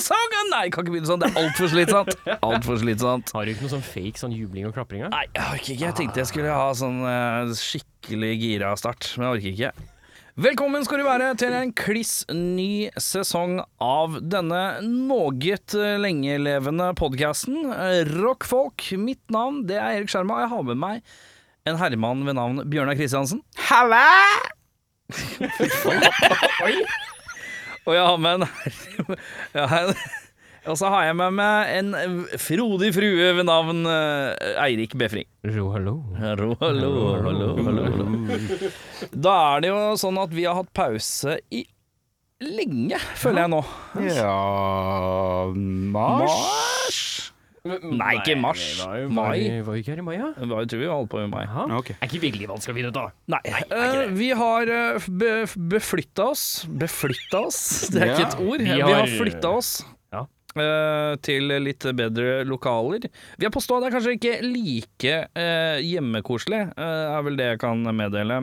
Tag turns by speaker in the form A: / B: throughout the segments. A: Nei, jeg kan ikke begynne sånn, det er altfor slitsomt. Altfor slitsomt.
B: Har du ikke noe sånn fake sånn jubling og klapring? da?
A: Nei, jeg orker ikke. Jeg tenkte jeg skulle ha sånn eh, skikkelig gira start, men jeg orker ikke. Velkommen skal du være til en kliss ny sesong av denne noe lengelevende podkasten Rockfolk. Mitt navn det er Erik Skjerma, og jeg har med meg en herremann ved navn Bjørnar Kristiansen. Og jeg har med en jeg har en- Og så har jeg med meg en frodig frue ved navn eh, Eirik Befring.
B: Jo, hallo.
A: Hallo, hallo, hallo, hallo, hallo. Da er det jo sånn at vi har hatt pause i lenge, føler jeg nå.
C: Ja Mars?
A: Nei, ikke mars.
B: Nei, det var jo
A: Mai.
B: Var vi ikke her i mai, ja?
A: Det var jo tror vi holdt på med meg.
B: Jaha.
C: Ok.
B: Er ikke virkelig vanskelig å finne ut av.
A: Nei. eh, vi har eh, be, beflytta oss Beflytta oss? Det er
C: Ja.
A: ikke et ord.
B: Vi
A: Vi har,
B: har-
A: flytta oss
B: Ja.
A: eh, til litt bedre lokaler. Vi har påstått det er kanskje ikke like eh, hjemmekoselig, eh, er vel det jeg kan meddele.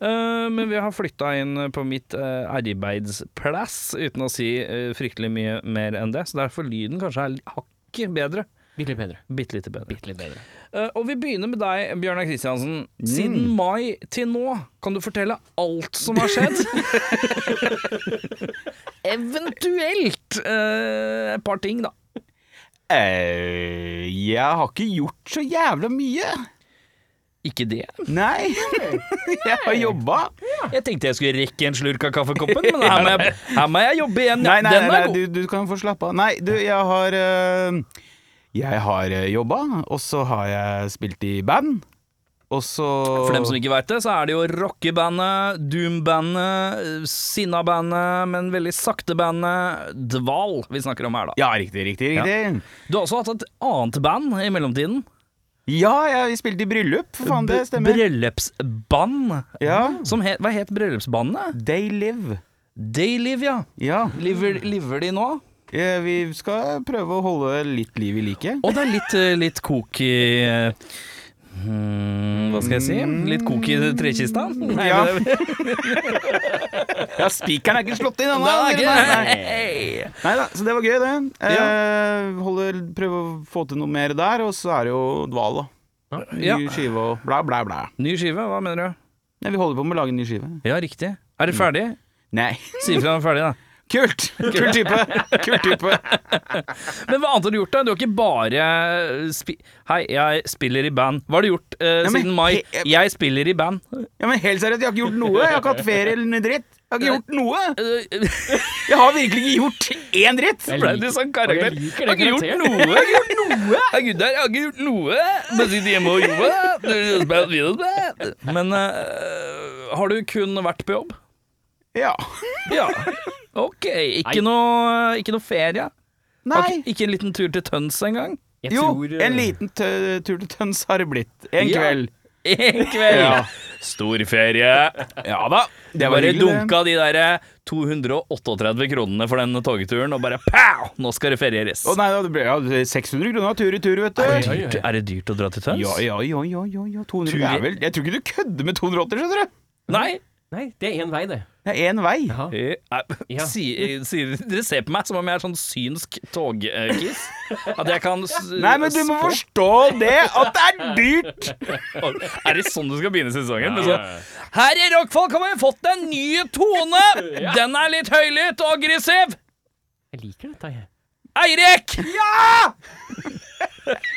A: Eh, men vi har flytta inn på mitt eh, arbeidsplass, uten å si eh, fryktelig mye mer enn det. Så derfor lyden kanskje er hakket bedre.
B: Bitte litt bedre.
A: Bitte lite bedre.
B: Bitte litt bedre.
A: Eh, Og vi begynner med deg, Bjørnar Kristiansen. Siden mai til nå, kan du fortelle alt som har skjedd? Eventuelt eh, et par ting, da.
C: Eh, jeg har ikke gjort så jævla mye.
A: Ikke det.
C: Nei. Jeg har jobba.
A: Jeg tenkte jeg skulle rekke en slurk av kaffekoppen, men her må jeg, her må jeg jobbe igjen.
C: Nei, nei,
A: Den
C: nei,
A: er
C: nei
A: god.
C: du, du kan få slappe av. Nei, du, jeg har eh, Jeg har eh, jobba, og så har jeg spilt i band. Og så
A: For dem som ikke veit det, så er det jo rockebandet, Doom-bandet, Sinna-bandet, men veldig sakte bandet Dval vi snakker om her, da.
C: Ja, riktig, riktig, riktig.
A: Du har også hatt et annet band i mellomtiden.
C: Ja, jeg spilte i bryllup, for faen, det stemmer.
A: Bryllupsband.
C: Ja.
A: Som het, hva het bryllupsbandet?
C: They live.
A: Dayliv, ja.
C: Ja.
A: Lever, lever de nå?
C: Eh, Vi skal prøve å holde litt liv i like.
A: Og det er litt, eh, litt kok i eh, hmm, Hva skal jeg si? Litt kok i trekista? Nei,
C: Mm. Ja.
A: men det-
C: Ja, spikeren er ikke slått inn ennå.
A: Nei, det er ikke-
C: Nei.
A: Hei.
C: Neida, så det var gøy, det. Eh, holder, prøver å få til noe mer der, og så er det jo dval, da. Ny
A: Ja.
C: skive og blæ, blæ, blæ.
A: Ny skive, hva mener
C: Nei, vi holder på med å lage en ny skive.
A: du? Ja, riktig. Er det ferdig?
C: Nei.
A: Si ifra når det er ferdig, da.
C: Kult! Kul type. Kul type.
A: Men hva annet har du gjort, da? Du har ikke bare eh, spi Hei, jeg spiller i band. Hva har du gjort eh,
C: Ja, men
A: siden mai?
C: he-
A: Jeg spiller i band.
C: Ja, men helt seriøst, jeg har ikke gjort noe. Jeg har ikke hatt ferie eller noe dritt. Jeg har ikke gjort noe.
A: Eh,
C: Jeg har virkelig ikke gjort én dritt.
A: Ble du sånn karakter?
B: Og jeg liker
A: Jeg har
B: det
A: ikke gjort
B: karakteren.
A: noe! Jeg har ikke gjort noe! Jeg er gutt der, jeg har ikke gjort noe! Bare sitter hjemme og jobber. Men eh, har du kun vært på jobb?
C: Ja.
A: Ja. Ok. Ikke noe, ikke noe ferie? Har
C: Nei.
A: Ikke, ikke en liten tur til Tøns engang?
B: Jeg
C: Jo,
B: tror, eh,
C: en liten tø tur til Tøns har det blitt. En
A: Ja.
C: kveld.
A: En kveld.
C: Ja.
A: Storferie.
C: Ja da. Det var
A: Bare
C: hyggelig, det.
A: dunka de der eh, 238 kronene for den togturen, og bare pow! Nå skal det ferieres.
C: Å nei, det ble ja, 600 kroner tur i tur, vet du.
B: Oi, oi, oi.
A: Er det dyrt å dra til Tøns?
C: Ja, ja, ja, ja, ja, ja. 200
A: Tur i-
C: det er vel, Jeg tror ikke du kødder med 280, skjønner du.
A: Nei?
B: Nei, det er én vei, det.
C: Det er én vei.
B: Jaha.
A: Eh,
B: Ja.
A: sier- sier- dere ser på meg som om jeg er sånn synsk togkiss. At jeg kan s-
C: Nei, men du må
A: spå-
C: forstå det, at det er dyrt!
A: Er det sånn du skal begynne sesongen? Men så, Her i Rockfolk har vi fått en ny tone! Den er litt høylytt og aggressiv!
B: Jeg liker dette, jeg.
A: Eirik!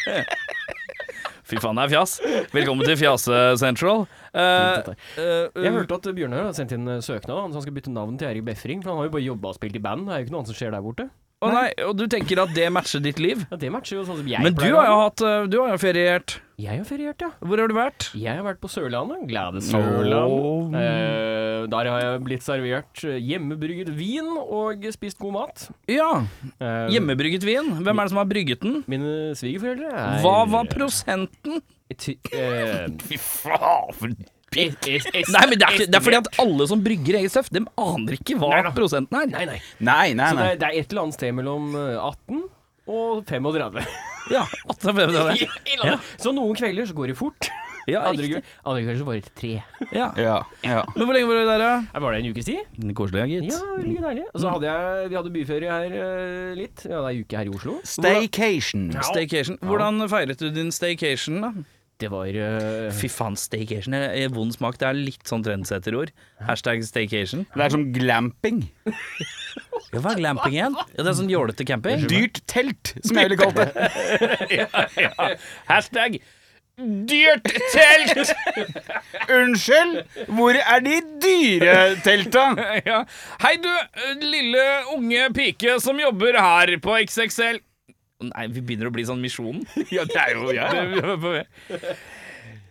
A: Ja! Fy faen, det er fjas. Velkommen til Fjase Central. Eh, eh,
B: Jeg hørte at Bjørnar har sendt inn eh, søknad. Han skal bytte navn til Erik Befring, for han har jo bare jobba og spilt i band. Det er jo ikke noe annet som skjer der borte.
A: Å nei, og du tenker at det matcher ditt liv?
B: Ja, det matcher jo sånn som jeg
A: Men du
B: pleier å
A: har jo
B: ha.
A: hatt eh, Du har jo feriert.
B: Jeg har feriert, ja.
A: Hvor har du vært?
B: Jeg har vært på Sørlandet. Glade Sørland.
A: Åh.
B: Eh, der har jeg blitt servert eh, hjemmebrygget vin og spist god mat.
A: Ja.
B: Eh,
A: Hjemmebrygget vin. Hvem er det som har brygget den?
B: Mine svigerforeldre er
A: Hva var prosenten?
B: Ty- eh,
C: Fy faen, for
B: es- es- es-
A: Nei, men det er, ikke, det er fordi at
B: estimert.
A: alle som brygger eget støff, de aner ikke hva
B: Nei da.
A: prosenten er.
B: Nei, nei.
C: Nei, nei,
B: Så det
C: nei.
B: er, det er et eller annet sted mellom eh, 18 og 35.
A: Ja, 18 av 5 av det.
B: I landet. Så noen kvelder så går det fort.
A: Ja,
B: Andre
A: riktig.
B: kve- andre kvelden så var det tre.
A: Ja.
C: Ja, ja.
A: Men hvor lenge var dere der,
B: Jeg var der en ukes tid.
A: da? Koselig, ja, gitt.
B: Ja, veldig deilig. Og så hadde jeg Vi hadde byferie her eh, litt. Vi hadde ei uke her i Oslo.
C: Staycation.
A: Staycation. Hvordan feiret du din staycation, da?
B: Det var eh,
A: Fy faen, staycation er er vond smak. Det er litt sånn trendsetterord. Hashtag staycation.
C: Det er som glamping.
A: Ja, hva er glamping igjen? Ja, det er sånn jålete camping.
C: Dyrt telt, som jeg ville kalt det.
A: Hashtag
C: Dyrt telt! Unnskyld, hvor er de dyre telta?
A: ja. Hei du, eh, lille unge pike som jobber her på XXL. Nei, vi begynner å bli sånn misjonen.
C: Ja, det er jo ja.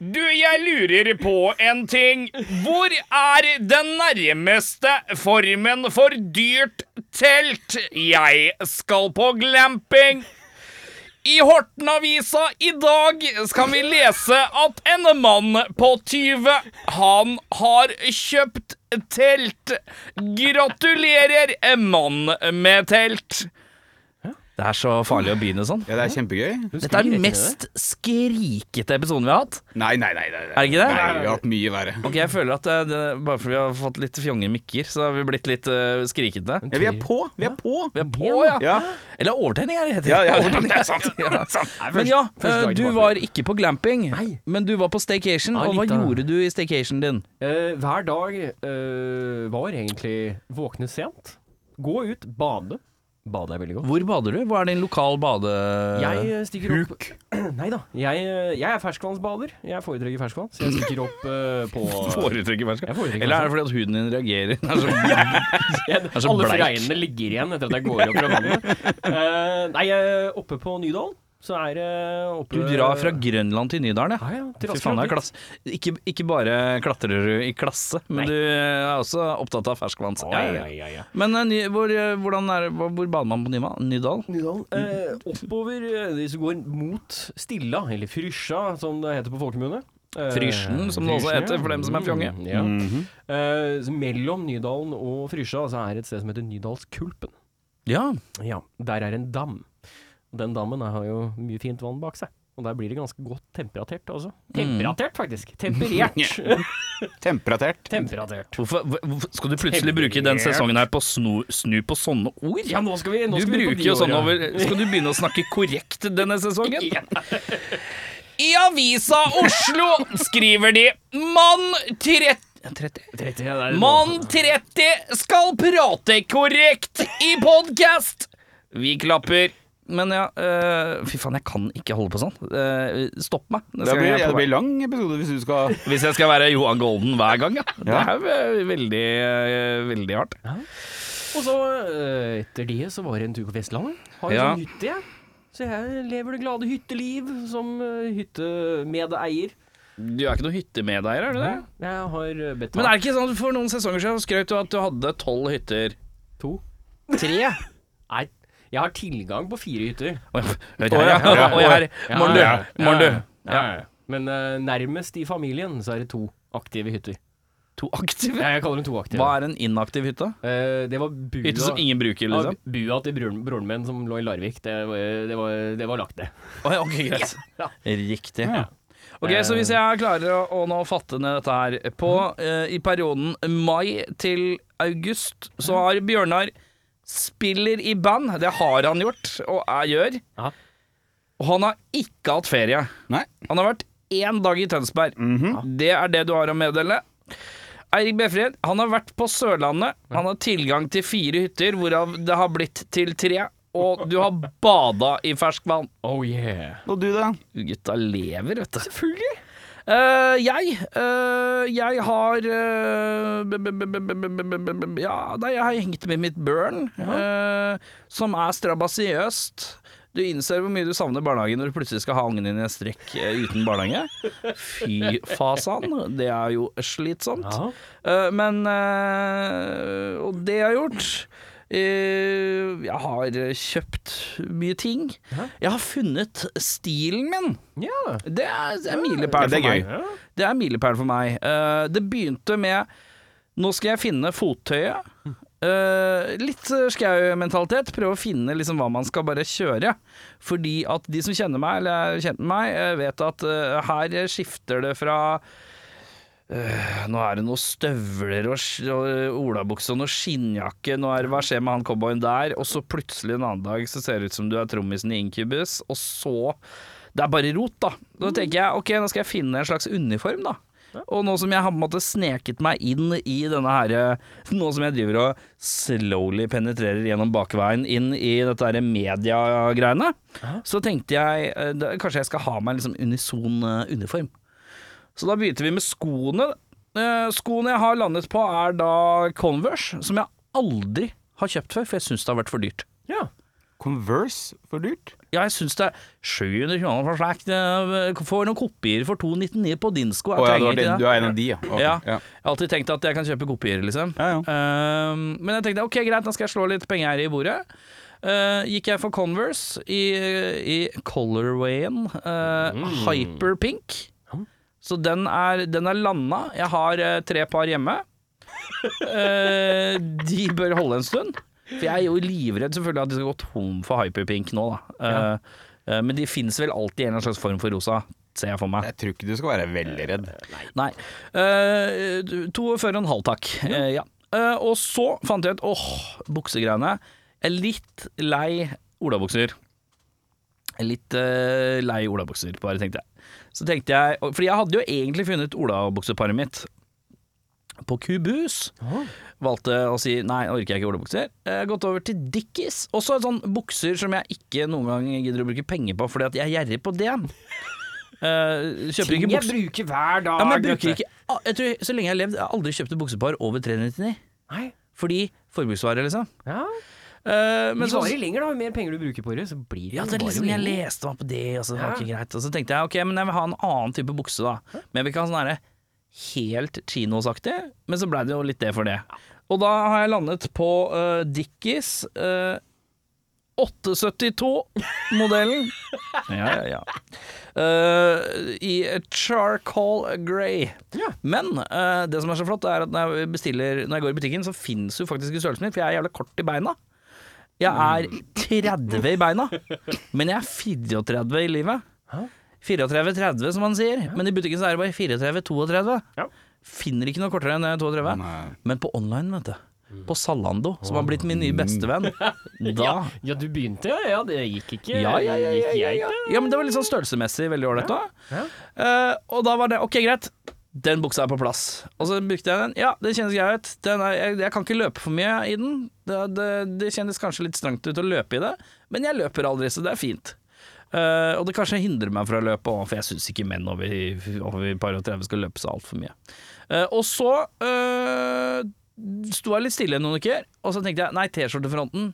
A: Du, jeg lurer på en ting. Hvor er den nærmeste formen for dyrt telt? Jeg skal på glamping. I Horten-avisa i dag skal vi lese at en mann på 20, han har kjøpt telt. Gratulerer, mann med telt. Det er så farlig å begynne sånn.
C: Ja, det er kjempegøy.
A: Dette er den mest skrikete episoden vi har hatt.
C: Nei, nei, nei. nei, nei.
A: Er det ikke det?
C: Nei, vi har hatt mye verre.
A: Ok, jeg føler at eh, det, Bare fordi vi har fått litt fjonge mikker, så har vi blitt litt eh, skrikete.
C: Ja, vi er på. Vi er på.
A: Vi er på, ja.
C: Ja.
A: Eller overtenning, er det heter.
C: Ja, ja, overtenning,
A: det er sant.
B: Nei,
A: Men
B: først-
A: ja,
B: første dagen
A: eh, du
B: tilbake.
A: var ikke på glamping,
B: Nei.
A: men du var på staycation.
B: Ja,
A: Og hva
B: litt av-
A: gjorde du i staycationen din?
B: Eh, hver dag eh, var egentlig våkne sent, gå ut, bade. Bade er veldig godt.
A: Hvor bader du? Hva er din lokal bade...
B: Jeg eh, stikker opp Nei da. Jeg, eh, jeg er ferskvannsbader. Jeg foretrekker ferskvann, så jeg stikker opp eh, på
A: Foretrekker mennesker.
B: Jeg foretrekker
A: Eller er det fordi at huden din reagerer? Den er så-
B: Jeg,
A: så
B: alle
A: bleik.
B: fregnene ligger igjen etter at jeg går opp fra vannet. Eh, nei, eh, oppe på Nydalen så er det oppe
A: Du drar fra Grønland til Nydalen, ja.
B: Ja, ja.
A: Fy faen, det er klasse. Ikke, ikke bare klatrer du i klasse, men
B: Nei.
A: du er også opptatt av ferskvann.
B: Ja, ja, ja, ja.
A: Men eh, ny, hvor, eh, hvordan er, det- hvor, hvor bader man på Nyma? Nydal?
B: Nydalen. Eh, oppover, eh, hvis du går mot Stilla, eller Frysja som det heter på folkemunne. Eh,
A: Frysjen, som det også
B: Frysjen,
A: heter for dem som er fjonge. Mm-hmm.
B: Mm, ja. Eh, så mellom Nydalen og Frysja så er det et sted som heter Nydalskulpen.
A: Ja.
B: Ja, der er en dam. Og Den dammen har jo mye fint vann bak seg. Og der blir det ganske godt temperatert også. Temperatert, faktisk. Temperert.
C: Temperatert.
B: temperatert.
A: Hvorfor, hvor- hvorfor skal du plutselig bruke den sesongen her på å snu, snu på sånne ord?
B: Ja, nå skal vi nå
A: Du
B: skal vi på
A: bruker jo sånn
B: Diora.
A: over Skal du begynne å snakke korrekt denne sesongen? I Avisa Oslo skriver de Mann 30
B: Tretti, ja, det er-
A: Mann 30 skal prate korrekt i podkast! Vi klapper. Men ja, eh, fy faen, jeg kan ikke holde på sånn. Eh, stopp meg.
C: Det
A: neste gang
C: blir,
A: jeg er
C: ja,
A: på
C: det
A: vei.
C: blir lang episode hvis du skal
A: Hvis jeg skal være Johan Golden hver gang, ja. Det
C: Ja.
A: er ve- veldig, eh, veldig hardt.
B: Og så, eh, etter det, så var det en tur på Vestlandet. Har jo
A: Ja.
B: sånn hytte, jeg. Så jeg lever det glade hytteliv som eh, hyttemedeier.
A: Du er ikke noen hyttemedeier, er du det?
B: Jeg har eh, betalt
A: Men er det ikke sånn for noen sesonger siden skrøt du at du hadde tolv hytter?
B: to.
A: Tre?
B: Nei, jeg har tilgang på fire hytter.
A: Å ja.
C: ja, ja.
A: Å, jeg er- Morn, du.
B: ja, ja,
A: Morn, du.
B: ja, ja, ja. Men eh, nærmest i familien så er det to aktive hytter.
A: To aktive?
B: Ja, jeg kaller dem to aktive.
A: Hva er en inaktiv hytte?
B: Eh, det var bua,
A: Hytte som ingen bruker, liksom?
B: ja, bua til broren, broren min som lå i Larvik. Det, var- det, var, det var lagt, det.
A: Å ja, ok, greit.
B: Ja.
A: Riktig. Ok, Så hvis jeg klarer å, å nå fatte ned dette her på,
B: Mhm.
A: eh, I perioden mai til august
B: Mhm.
A: så har Bjørnar spiller i band. Det har han gjort, og jeg gjør.
B: Ja.
A: Og han har ikke hatt ferie.
C: Nei.
A: Han har vært én dag i Tønsberg. Det er det du har å meddele. Eirik Befred, han har vært på Sørlandet. Han har tilgang til fire hytter, hvorav det har blitt til tre. Og du har bada i ferskvann.
B: Oh yeah.
C: Og du, da?
A: Gutta lever, vet du.
B: Selvfølgelig.
A: Eh, jeg eh, Jeg har eh, b- b- b- b- b- b- b- b- b- Ja, nei, jeg har hengt med mitt børn, eh, som er strabasiøst. Du innser hvor mye du savner barnehagen når du plutselig skal ha ungen din i en strekk eh, uten barnehage. Fy fasan, det er jo slitsomt.
B: Ja.
A: Eh, men eh, Og det jeg har gjort eh, Jeg har kjøpt mye ting. Jeg har funnet stilen min.
B: Ja.
A: Det er, det er
C: Ja,
A: milepæl
C: det er
A: for meg.
C: gøy.
B: Ja.
A: Det er milepæl for meg. Eh, det begynte med Nå skal jeg finne fottøyet. eh, litt eh, skau-mentalitet. Prøve å finne liksom hva man skal bare kjøre. Fordi at de som kjenner meg, eller er kjent med meg, eh, vet at eh, her skifter det fra eh, nå er det noen støvler og, sk- og olabukse og noe skinnjakke. Nå er det hva skjer med han cowboyen der? Og så plutselig en annen dag så ser det ut som du er trommisen i Incubus. Og så Det er bare rot, da. Da tenker jeg ok, nå skal jeg finne en slags uniform, da. Og nå som jeg har på en måte sneket meg inn i denne her eh, Nå som jeg driver og slowly penetrerer gjennom bakveien inn i dette her mediegreiene, så tenkte jeg eh, da, kanskje jeg skal ha meg en liksom unison eh, uniform. Så da begynte vi med skoene. Eh, Skoene jeg har landet på er da Converse, som jeg aldri har kjøpt før, for jeg syns det har vært for dyrt.
B: Ja.
C: Converse for dyrt?
A: Ja, jeg syns det er 700 kroner for slikt. eh, Får noen kopier for 299 på din sko.
C: Å ja,
A: Jeg
C: du,
A: trenger
C: var
A: ikke
C: den,
A: det.
C: du er en av de, ja. Ok,
A: Ja.
C: ja.
A: Jeg har alltid tenkt at jeg kan kjøpe kopier, liksom.
C: Ja, ja.
A: Ehm, men jeg tenkte ok, greit, da skal jeg slå litt penger her i bordet. Eh, gikk jeg for Converse i, i colorwayen eh,
C: Mm.
A: Hyperpink. Så den er, den er landa. Jeg har eh, tre par hjemme. Eh, de bør holde en stund. For jeg er jo livredd selvfølgelig at de skal gå tom for Hyperpink nå, da. Eh, eh, men de fins vel alltid i en eller annen slags form for rosa, ser jeg for meg.
C: Jeg tror ikke du skal være veldig redd.
A: Nei. Eh, to før og en halv, takk. Eh, ja. Eh, og så fant jeg ut åh, buksegreiene. Jeg er litt lei olabukser. Jeg er Litt eh, lei olabukser, bare tenkte jeg. Så tenkte jeg og- Fordi jeg hadde jo egentlig funnet olabukseparet mitt på Kubus. Valgte å si nei, nå orker jeg ikke olabukser. Eh, gått over til Dickies. Også sånn bukser som jeg ikke noen gang gidder å bruke penger på, fordi at jeg er gjerrig på det. Eh, kjøper ikke
B: Ting jeg
A: bukser
B: bruker hver dag.
A: ja, men jeg
B: vet
A: bruker
B: du.
A: ikke Ah, jeg tror, Så lenge jeg har levd, jeg har aldri kjøpt et buksepar over 399.
B: Nei.
A: Fordi forbruksvare, liksom.
B: Ja.
A: Eh, men
B: Men
A: så,
B: varer lenger, da. Jo mer penger du bruker på det, så blir det
A: ja,
B: jo
A: det er
B: bare
A: liksom,
B: lenger.
A: jeg leste meg på det, og så,
B: Ja.
A: ok, greit. og så tenkte jeg ok, men jeg vil ha en annen type bukse, da. Men jeg vil ikke ha sånn herre helt chinosaktig, men så blei det jo litt det for det. Og da har jeg landet på eh, Dickies eh, 872-modellen. ja, ja, ja. Eh, I charcoal grey.
B: Ja.
A: Men eh, det som er så flott, er at når jeg, bestiller, når jeg går i butikken, så fins jo faktisk i størrelsen min, for jeg er jævla kort i beina. Jeg er 30 i beina, men jeg er 34 i livet.
B: Hæ?
A: 34-30, som man sier. Men i butikken så er det bare 34-32.
B: Ja.
A: Finner ikke noe kortere enn det, 32.
C: Nei.
A: Men på online, vet du. På Zalando, som har blitt min nye bestevenn. Da
B: Ah, Ja, du begynte, ja. ja det gikk ikke.
A: ja, ja, ja, ja,
B: Gikk
A: ja,
B: jeg
A: ja.
B: ikke.
A: ja, men det var litt sånn størrelsesmessig veldig ålreit òg.
B: Ja.
A: og da var det OK, greit. Den buksa er på plass. Og så brukte jeg den. Ja, det kjennes grei ut. Den er, jeg, jeg kan ikke løpe for mye i den. Det, det, det kjennes kanskje litt strengt ut å løpe i det, men jeg løper aldri, så det er fint. Eh, og det kanskje hindrer meg fra å løpe, også, for jeg syns ikke menn over, over par og 30 skal løpe så altfor mye. Eh, og så eh, sto jeg litt stille noen uker, og så tenkte jeg nei, T-skjortefronten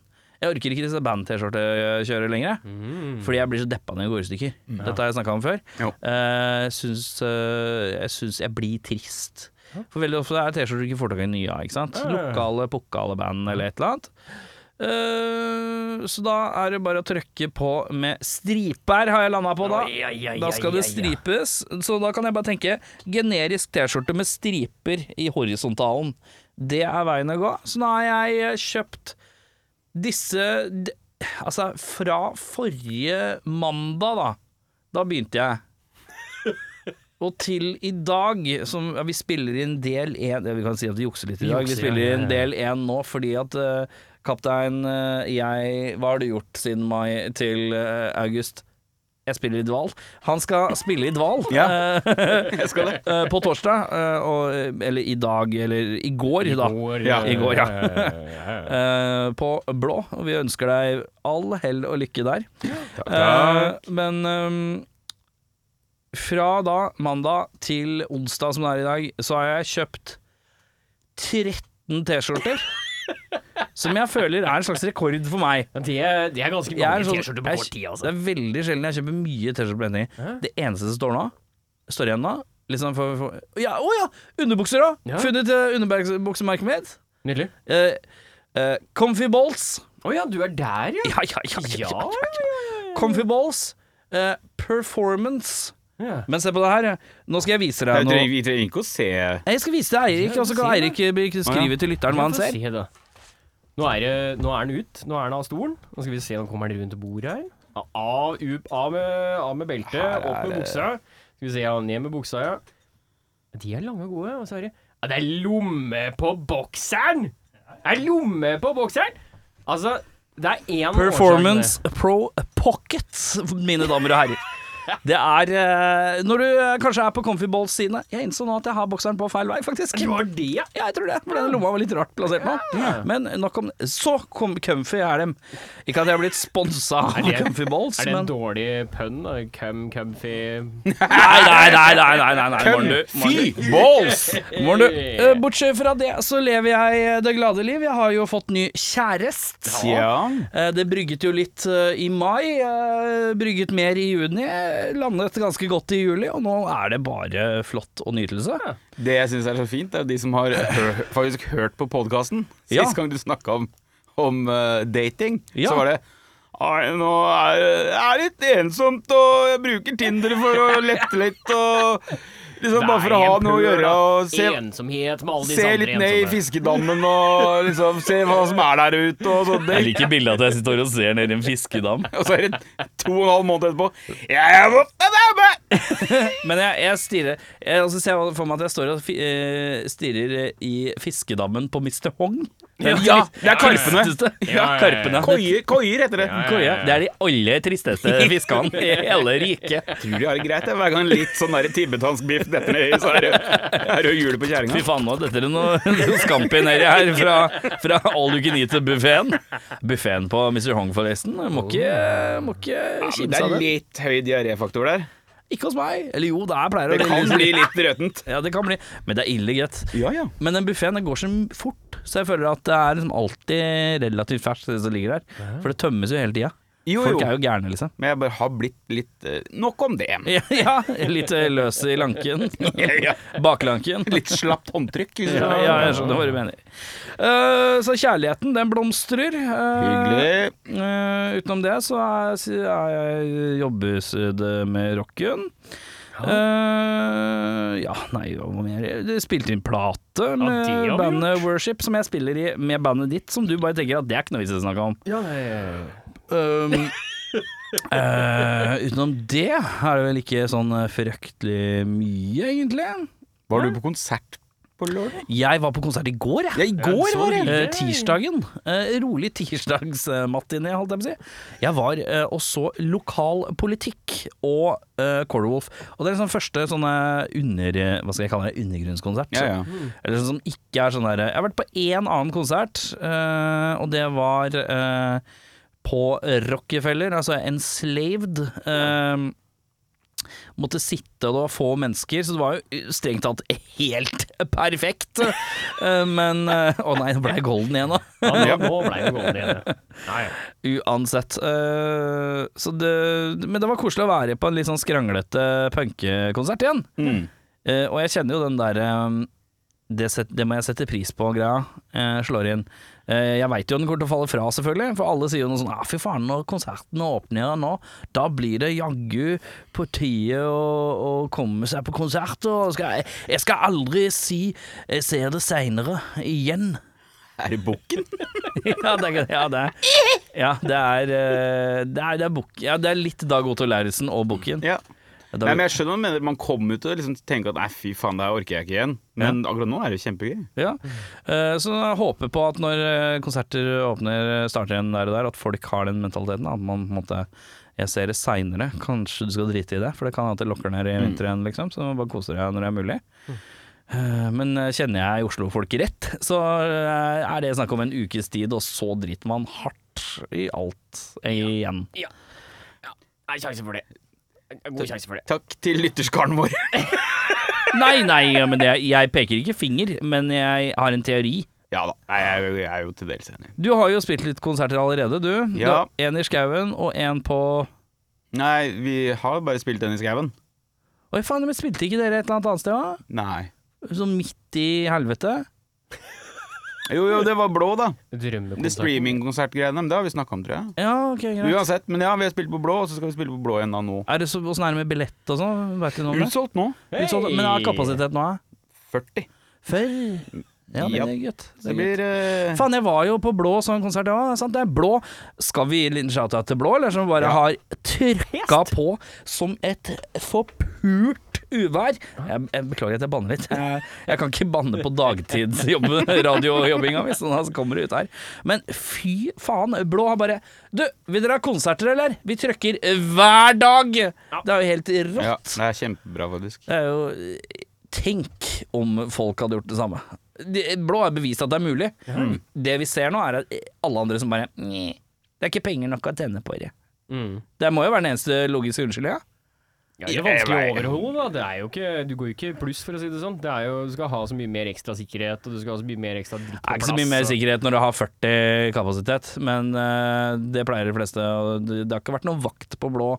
A: Jeg orker ikke disse band-T-skjortekjøret lenger.
B: Mm.
A: Fordi jeg blir så deppa når jeg går i stykker. Dette har jeg snakka om før.
C: Jo.
A: Eh, syns, eh, jeg syns jeg blir trist. For veldig ofte er T-skjorter du ikke får tak i nye av. ikke sant?
B: Ja, ja, ja.
A: Lokale, pukkale band eller et eller annet. Eh, så da er det bare å trykke på med striper, har jeg landa på da.
B: Ja, ja, ja, ja,
A: Da skal det
B: ja, ja.
A: stripes. Så da kan jeg bare tenke generisk T-skjorte med striper i horisontalen. Det er veien å gå. Så nå har jeg eh, kjøpt disse d- Altså, fra forrige mandag, da. Da begynte jeg. Og til i dag, som ja, vi spiller inn del én Vi kan si at vi jukser litt i
B: Vi
A: dag. Vi
B: jukser,
A: spiller
B: ja, ja,
A: inn
B: ja.
A: del én nå fordi at eh, kaptein eh, jeg Hva har du gjort siden mai til eh, august? Jeg spiller i dval. Han skal spille i dval
C: Ja.
A: eh,
C: Jeg skal det.
A: eh, på torsdag. eh, og, eller i dag, eller i går, da.
C: Ja.
A: I går, ja.
B: ja.
A: Eh, på blå. Og vi ønsker deg all hell og lykke der.
C: takk.
A: Eh, men ehm, fra da, mandag til onsdag som det er i dag, så har jeg kjøpt 13 T-skjorter. som jeg føler er en slags rekord for meg.
B: Men Det, det er ganske
A: Jeg er
B: mange
A: en sånn,
B: T-skjorter på kort
A: jeg-
B: tid, altså.
A: Det er veldig sjelden jeg kjøper mye T-skjorter på en gang.
B: Hæ?
A: Det eneste som står nå, står igjen nå Liksom for, for, ja, Å ja! Underbukser òg!
B: Ja.
A: Funnet uh, underbuksemerket mitt.
B: Nydelig.
A: Eh, eh, comfy Bolts.
B: Å ja, du er der, ja.
A: Ja, ja, ja, ja, ja,
B: Ja,
A: ja, ja. Comfy balls, eh, performance.
B: ja.
A: Men se på det her. Nå skal jeg vise
C: Nei,
A: deg
C: vi
A: noe.
C: trenger- Vi trenger ikke å se
A: Jeg skal vise det til Eirik, og så kan
B: Ja,
A: Eirik beskrive til lytteren hva han ser.
B: Se, da. Nå er, det, nå er den ut. Nå er den av stolen. Nå skal vi se, nå kommer den rundt bordet her. Av, ut, av, med, av med beltet,
C: Her er
B: opp med
C: det-
B: buksa. Skal vi se, ja, ned med buksa, ja. De er lange og gode. Og så er det ja, Det er lomme på bokseren! Det er lomme på bokseren! Altså, det er én årsak til det.
A: Performance Pro Pocket, mine damer og herrer. Det er eh, Når du eh, kanskje er på Comfy Balls sine Jeg innså nå at jeg har bokseren på feil vei, faktisk.
B: Det var det, ja.
A: Ja, jeg tror det. For den lomma var litt rart plassert nå. Men nok om Så kom comfy er dem. Ikke at jeg har blitt sponsa av
B: det-
A: Comfy Balls,
B: Er det en
A: men
B: dårlig pønn? da? Cum, comfy
A: Nei, nei, nei, nei, nei, nei, nei. Morn, du.
C: Fy balls!
A: Morn, du. Eh, Bortsett fra det, så lever jeg eh, det glade liv. Jeg har jo fått ny kjæreste.
C: Ja.
A: Eh, Det brygget jo litt eh, i mai, eh, brygget mer i juni, eh, landet ganske godt i juli, og nå er det bare flott og nytelse.
C: Det jeg syns er så fint, er jo de som har hø faktisk hørt på podkasten. Sist
A: Ja.
C: gang du snakka om, om eh, dating,
A: Ja.
C: så var det Ai, nå er det er litt ensomt, og jeg bruker Tinder for å lette litt og liksom Bare for å ha noe å gjøre og se,
B: Ensomhet med alle disse
C: se
B: andre
C: litt ned i
B: ensomme.
C: fiskedammen og liksom se hva som er der ute og sånne ting.
A: liker bildet at jeg står og ser ned i en fiskedam.
C: Og så er det to og en halv måned etterpå Jeg er borte, damme!
A: Men jeg, jeg stirrer jeg, altså, ser jeg for meg at jeg står og fi, eh, stirrer i fiskedammen på Mr. Hong. Den
C: Ja,
A: trist-
C: det er karpene.
A: tristeste. Ja,
B: ja, ja.
A: karpene. Det-
C: Koier, koier heter det.
A: Koie. Det er de aller tristeste fiskene i hele riket.
C: Tror de har det greit, jeg. hver gang litt sånn der tibetansk biff detter ned i, så er det er det jo hjulet på
A: Fy
C: kjerringa.
A: faen, nå detter det noe noe scampi nedi her fra, fra all you can eat-buffeen. Buffeen på Mr. Hong, forresten. Må ikke, må ikke kimse
C: Det
A: av
C: er
A: det.
C: litt høy diaréfaktor der.
A: Ikke hos meg. Eller jo, det er pleier å
C: Det kan bli litt røtent.
A: Ja, det kan bli. Men det er ille greit.
C: Ja, ja.
A: Men den buffeen går så fort, så jeg føler at det er liksom alltid relativt ferskt det som ligger der. For det tømmes jo hele tida.
C: Jo,
A: Folk er
C: jo.
A: jo gærne, liksom.
C: Men jeg bare har blitt litt eh, Nok om det.
A: Ja, ja litt eh, løs i lanken.
C: Ja.
A: Baklanken.
C: Litt slapt håndtrykk. hvis du
A: Ja,
C: skjønner.
A: ja, jeg skjønner hva du mener. Eh, så kjærligheten, den blomstrer. Eh,
C: Hyggelig.
A: eh, utenom det så er, si- er jeg jobbesud med rocken. Eh, ja, nei, hva mer Jeg spilte inn plate med
B: det har vi
A: bandet Worship, som jeg spiller i med bandet ditt, som du bare tenker at det er ikke noe vits i å snakke om.
B: Ja, ja, ja.
A: Um, eh, utenom det er det vel ikke sånn eh, fryktelig mye, egentlig.
C: Var du på konsert på lørdag?
A: Jeg var på konsert i går, jeg.
C: Ja, i går
B: så
C: var det.
B: hyggelig.
A: Eh, tirsdagen. Eh, rolig tirsdagsmatiné, holdt jeg på å si. Jeg var eh, og så lokal politikk og eh, Corewolf. Og det er liksom første sånne under... Hva skal jeg kalle det? Undergrunnskonsert.
C: Ja, ja.
A: Eller sånn som ikke er sånn der Jeg har vært på én annen konsert, eh, og det var eh, på Rockefeller, altså Enslaved. eh, Måtte sitte, og det var få mennesker, så det var jo eh, strengt tatt helt perfekt. Eh, Men eh, Å nei, nå ble jeg golden igjen, da.
B: Ja, nå, nå ble det gående igjen. ja. Nei, ja.
A: Uansett. eh, Så det, men det var koselig å være på en litt sånn skranglete punkekonsert igjen.
C: Mm.
A: Eh, og jeg kjenner jo den der eh, det, set, det må jeg sette pris på, greia. eh, slår inn. Eh, jeg veit jo den kommer til å falle fra, selvfølgelig. For alle sier jo noe sånn ah, 'fy faen, når konserten åpner nå, da blir det jaggu på tide å, å komme seg på konsert', og skal, jeg, 'jeg skal aldri si 'jeg ser det seinere' igjen'.
C: Er det bukken?
A: Ja, det er, ja, det er, ja, det er, eh, det er, det er, bok, ja, det er litt Dag Otto Lauritzen og Bukken.
C: Ja.
A: Dag-
C: Nei, men jeg skjønner hva du mener. Man kommer ut og liksom tenker at nei, fy faen, det her orker jeg ikke igjen. Men akkurat nå er det jo kjempegøy.
A: Ja. Eh, Så jeg håper på at når eh, konserter åpner, eh, starter igjen der og der, at folk har den mentaliteten. At man på en måte Jeg ser det seinere, kanskje du skal drite i det, for det kan hende at det lokker ned i
C: Mm.
A: vinter igjen, liksom. Så bare koser deg når det er mulig. Eh, Men eh, kjenner jeg Oslo-folk rett, så eh, er det snakk om en ukes tid, og så driter man hardt i alt eh, igjen.
B: Det er sjanse for det. Det er God sjanse for det.
C: Takk til lytterskaren vår.
A: Nei, nei, ja, men det, jeg peker ikke finger, men jeg har en teori.
C: Ja da, Nei, jeg, er jo- jeg er jo til dels enig.
A: Du har jo spilt litt konserter allerede, du.
C: Ja.
A: Du har En i skauen og en på
C: Nei, vi har bare spilt den i skauen.
A: Oi, faen, men spilte ikke dere et eller annet annet sted, da?
C: Nei.
A: Sånn midt i helvete?
C: Jo, jo, det var blå, da. Det
B: Drømmekonsert.
C: streamingkonsertgreiene. Men det har vi snakka om, tror jeg.
A: Ja, ok, greit.
C: Uansett, men ja, vi har spilt på blå, og så skal vi spille på blå igjen da nå.
A: Er det så, Åssen er det med billett og sånn? Vet du noe om det?
C: Utsolgt nå.
A: Utsolgt, men er kapasitet nå, da?
C: 40.
A: Før? Ja, det
C: Ja.
A: er gutt. Det
C: Det
A: er
C: blir
A: gutt.
C: eh,
A: Faen, jeg var jo på Blå sånn konsert. Ja, sant? Det er Blå. Skal vi gi en liten shout-out til Blå, eller som bare har trykka på som et forpult uvær? Jeg, jeg beklager at jeg banner litt. Jeg, jeg kan ikke banne på dagtidsradiojobbinga hvis noen av oss kommer ut her. Men fy faen, Blå har bare Du, vil dere ha konserter, eller? Vi trykker hver dag! Det er jo helt rått.
C: Ja, det er kjempebra, faktisk.
A: Det er jo eh, Tenk om folk hadde gjort det samme. De- Blå har bevist at det er mulig. Det vi ser nå, er at alle andre som bare «Nye, Det er ikke penger nok å tjene på det.
B: Mm.
A: Det må jo være den eneste logiske unnskyldninga.
B: Ja, det er
C: Jeg
B: vanskelig å
C: vet.
B: overholde, da. Det er jo ikke, du går jo ikke i pluss, for å si det sånn. Det er jo, du skal ha så mye mer ekstra sikkerhet, og du skal ha så mye mer ekstra dritt på
A: Det er
B: plass.
A: ikke så mye mer
B: og-
A: sikkerhet når du har 40 kapasitet, men eh, det pleier de fleste. og Det det har ikke vært noen vakt på Blå,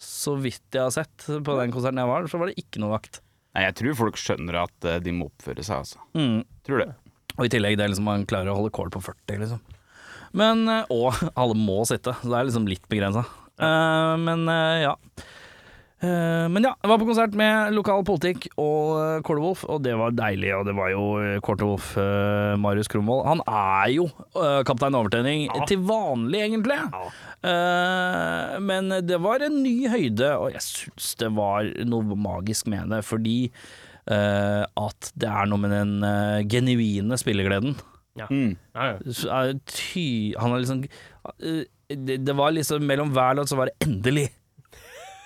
A: så vidt jeg har sett. På den konserten jeg var, så var det ikke noe vakt.
C: Nei, jeg tror folk skjønner at eh, de må oppføre seg, altså.
A: Mm.
C: Tror det.
A: Og i tillegg det er liksom man klarer å holde kål på 40, liksom. Men, eh, og alle må sitte, så det er liksom litt begrensa. Eh, men eh, ja. Eh, men ja, jeg var på konsert med lokal politikk og uh, Kålewolf, og det var deilig. Og det var jo eh, Kålewolf, eh, Marius Kromvold. Han er jo eh, kaptein Overtenning til vanlig, egentlig. Eh, men det var en ny høyde, og jeg syns det var noe magisk med det, fordi eh, at det er noe med den eh, genuine spillegleden.
B: Ja, ja.
A: Så er det ty Han er liksom eh, det, det var liksom mellom hver låt så var det endelig.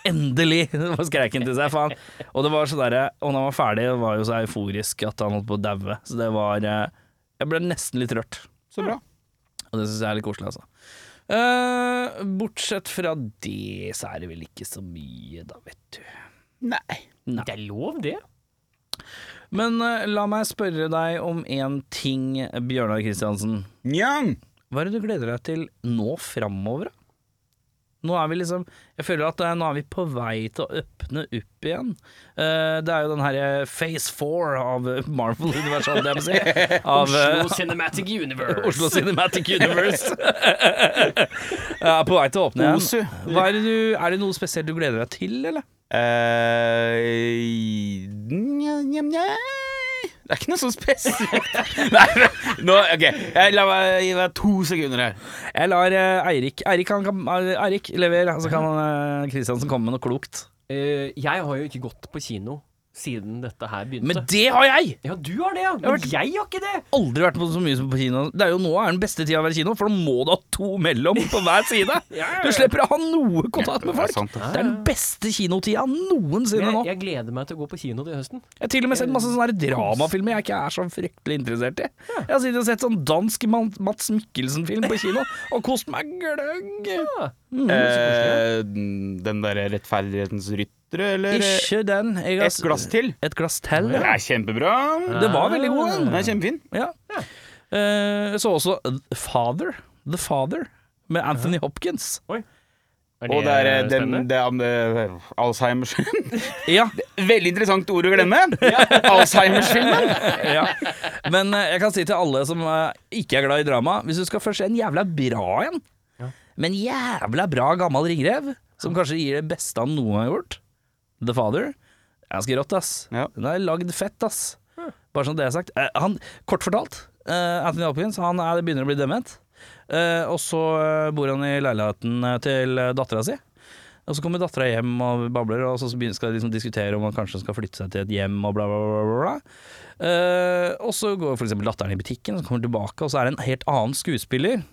A: Endelig! Det var skreiken til seg, faen. Og det var så derre Og når han var ferdig, det var jo så euforisk at han holdt på å daue. Så det var eh, Jeg ble nesten litt rørt.
C: Så bra.
A: Og det syns jeg er litt koselig, altså. Eh, bortsett fra det, så er det vel ikke så mye, da, vet du.
C: Nei.
B: Det er lov, det.
A: Men eh, la meg spørre deg om én ting, Bjørnar Kristiansen.
C: Njang!
A: Hva er det du gleder deg til nå framover, da? Nå er vi liksom Jeg føler at eh, nå er vi på vei til å åpne opp igjen. Eh, det er jo den her eh, Phase 4 av eh, Marvel Universe, holdt jeg på å si. Av eh,
B: Oslo Cinematic Universe.
A: Oslo Cinematic Universe. Jeg er på vei til å åpne
C: Osu.
A: igjen. Hva er, det du, er det noe spesielt du gleder deg til, eller?
C: Eh, nja, nja, nja. Det er ikke noe sånn spesielt. Nei, men- nå, ok, jeg, la meg gi deg to sekunder her.
A: Jeg lar eh, Eirik Eirik, han kan, Eirik lever, så kan eh, Kristiansen komme med noe klokt.
B: Eh, jeg har jo ikke gått på kino siden dette her begynte.
A: Men det har jeg!
B: ja, du har det, ja. Men
A: vært-
B: jeg har ikke det.
A: aldri vært på så mye som på kino. Det er jo nå er den beste tida å være kino, for da må du ha to mellom på hver side. Du slipper å ha noe kontakt
C: Ja,
A: med
C: det er
A: folk.
C: sant, det.
A: Det er den beste kinotida noensinne
B: Jeg,
A: nå.
B: jeg gleder meg til å gå på kino til høsten.
A: Jeg har til og med sett masse sånne her dramafilmer jeg ikke er så fryktelig interessert i. Jeg har sittet og sett sånn dansk Man- Mats Mikkelsen-film på kino og kost meg gløgg.
B: Ja.
A: Mm,
C: Eh, den derre Rettferdighetens ryttere, eller eh,
A: Ikke den. Jeg har
C: Et glass til?
A: Et glass til,
C: Den
A: ja.
C: er kjempebra.
A: Det var veldig god,
C: Den
A: den.
C: er kjempefin.
A: Ja. Eh, Så også The Father. The Father med Anthony Hopkins.
C: Og det er eh, den det er, eh, Alzheimers
A: Ja,
C: Veldig interessant ord å glemme. Alzheimers-filmen.
A: ja. Men eh, jeg kan si til alle som eh, ikke er glad i drama Hvis du skal først se en jævla bra en Men jævla bra gammel ringrev Som kanskje gir det beste han noen har gjort The Father er Ganske rått ass
C: Ja.
A: Den er lagd fett ass Bare sånn det er sagt Eh, han, Kort fortalt eh, Anthony Hopkins Han er, begynner å bli dement Eh, Og så eh, bor han i leiligheten eh, til eh, datteren sin og så kommer dattera hjem og babler, og så begynner- skal de liksom diskutere om han kanskje skal flytte seg til et hjem og bla, bla, bla. bla, bla. Eh, og så går for eksempel datteren i butikken, og så kommer hun tilbake, og så er det en helt annen skuespiller.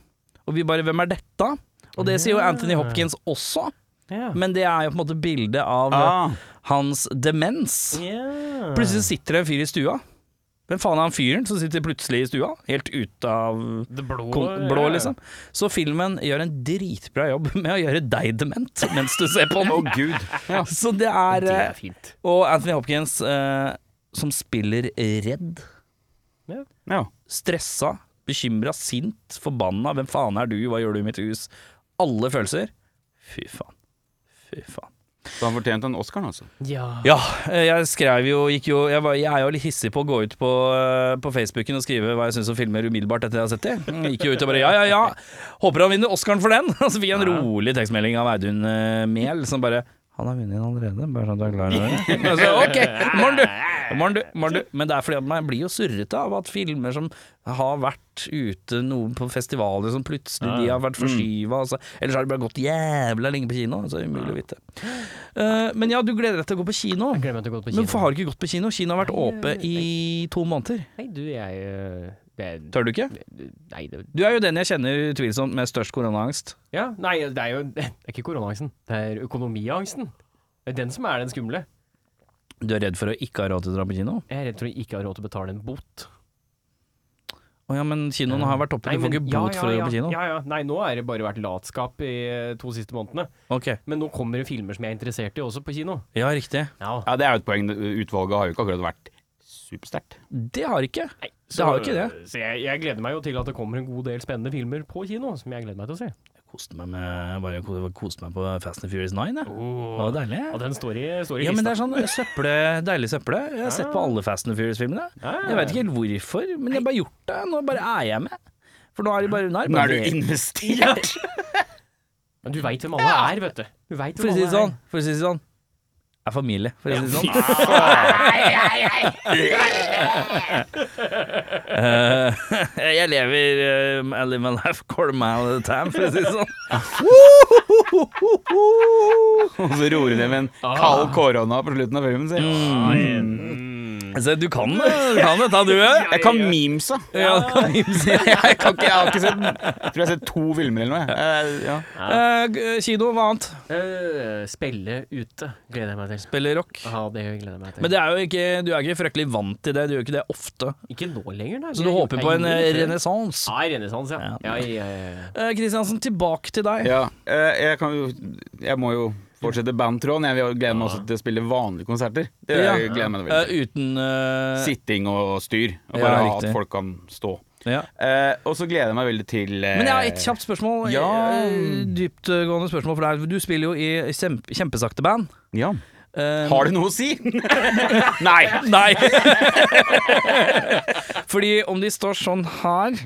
A: Og vi bare 'Hvem er dette?' Og det sier jo Anthony Hopkins også,
B: Ja.
A: men det er jo på en måte bildet av
C: Ah.
A: eh, hans demens.
B: Ja.
A: Plutselig sitter det en fyr i stua. Hvem faen er han fyren som sitter plutselig i stua? Helt ute av
B: Det blå,
A: Kon- blå, liksom. Så filmen gjør en dritbra jobb med å gjøre deg dement mens du ser
C: Å,
A: på den.
C: gud.
A: Så det er,
B: Det
A: eh,
B: er fint.
A: Og Anthony Hopkins, eh, som spiller redd,
C: Ja.
A: stressa, bekymra, sint, forbanna. Hvem faen er du, hva gjør du i mitt hus? Alle følelser. Fy faen. Fy faen.
C: Så han fortjente en Oscar, altså.
B: Ja.
A: Ja, eh, jeg skrev jo, gikk jo jeg, var, jeg er jo litt hissig på å gå ut på, eh, på Facebooken og skrive hva jeg syns om filmer umiddelbart etter jeg har sett dem. Gikk jo ut og bare ja, ja, ja. Håper han vinner Oscaren for den. Og så fikk jeg en rolig tekstmelding av Audun eh, Mehl som bare han har vunnet den allerede, bare sånn at du er klar over det. Og så, Ok, morgen du. Morn, du. Morn, du. Men det er fordi at man blir jo surrete av at filmer som har vært ute noen på festivaler, som plutselig de har vært
B: Mm.
A: forskyva, altså. eller så har de bare gått jævla lenge på kino. Så er det umulig å vite. Eh, men ja, du gleder deg til å gå på kino.
B: Jeg gleder meg til å gå på kino.
A: Men for har du ikke gått på kino? Kino har vært åpe i to måneder.
B: Nei, du, jeg øh, det,
A: Tør du ikke?
B: Nei, det,
A: Du er jo den jeg kjenner utvilsomt med størst koronaangst.
B: ja, nei, det er jo Det er ikke koronaangsten. Det er økonomiangsten. Det er den som er den skumle.
A: Du er redd for å ikke ha råd til å dra på kino?
B: Jeg er redd for å ikke ha råd til å betale en bot.
A: Å ja, men kinoen har vært oppe,
B: Nei,
A: du får
B: men-
A: ikke bot for å
B: ja,
A: dra på kino?
B: Ja, ja. Nei, nå har det bare vært latskap i eh, to siste månedene.
A: Ok,
B: Men nå kommer det filmer som jeg er interessert i, også på kino.
A: ja riktig.
B: Ja.
C: Ja, det er jo et poeng. Utvalget har jo ikke akkurat vært supersterkt.
A: Det har ikke.
B: Nei,
A: Det har jo ikke det.
B: Så jeg, jeg gleder meg jo til at det kommer en god del spennende filmer på kino, som jeg gleder meg til å se.
A: Jeg koste meg, med, bare, ko- koste meg på Fast and Furious 9, jeg. Det var deilig.
B: Og den står i, står i
A: Ja,
B: lista.
A: men det er sånn søpple, deilig søpple. Jeg har sett på alle Fast and Furious-filmene.
B: Ja.
A: Jeg veit ikke helt hvorfor, men jeg har bare gjort det. Nå bare er jeg med. For nå er det bare Nå er, det
C: Nå
A: bare-
C: er du investert!
B: Men du veit hvem alle er, vet du. Du vet
A: For å
B: hvem
A: si
B: alle
A: det sånn, for å si det sånn. Jeg er familie, for å si det sånn. Eh, jeg lever eh, I live my life quarter mile at a time, for å si det sånn.
C: Og så roer du ned med en
A: Ah.
C: kald korona på slutten av filmen. sier.
A: Mm. Så du kan det, du kan dette, du òg.
C: Jeg kan memesa.
A: Ja, du kan imse.
C: Jeg, kan ikke, jeg har ikke sett Tror jeg har sett to filmer eller noe. jeg. Eh, Ja.
A: Eh, Kino, hva annet?
B: Eh, spille ute gleder jeg meg til.
A: Spiller rock.
B: Ja, det gleder jeg meg til.
A: Men det er jo ikke, du er ikke fryktelig vant til det, du gjør ikke det ofte.
B: ikke nå lenger, nei.
A: Så du håper på en eh, renessanse.
B: Ja, renessanse, ja. Ja, ja, ja.
A: Eh, Kristiansen, tilbake til deg.
C: Ja, eh, jeg, kan jo, jeg må jo fortsette bandtråden. Jeg vil- gleder meg også til å spille vanlige konserter. Det
A: Ja.
C: jeg gleder jeg meg veldig
A: Eh,
C: til.
A: uten eh,
C: Sitting og styr, og
A: Ja,
C: bare ha
A: riktig.
C: at folk kan stå.
A: ja.
C: Eh, og så gleder jeg meg veldig til eh,
A: Men jeg har et kjapt spørsmål.
C: Ja.
A: eh, Dyptgående spørsmål for deg. Du spiller jo i kjempe, kjempesakte band.
C: Ja.
A: Eh,
C: Har det noe å si? Nei.
A: Nei! Fordi om de står sånn her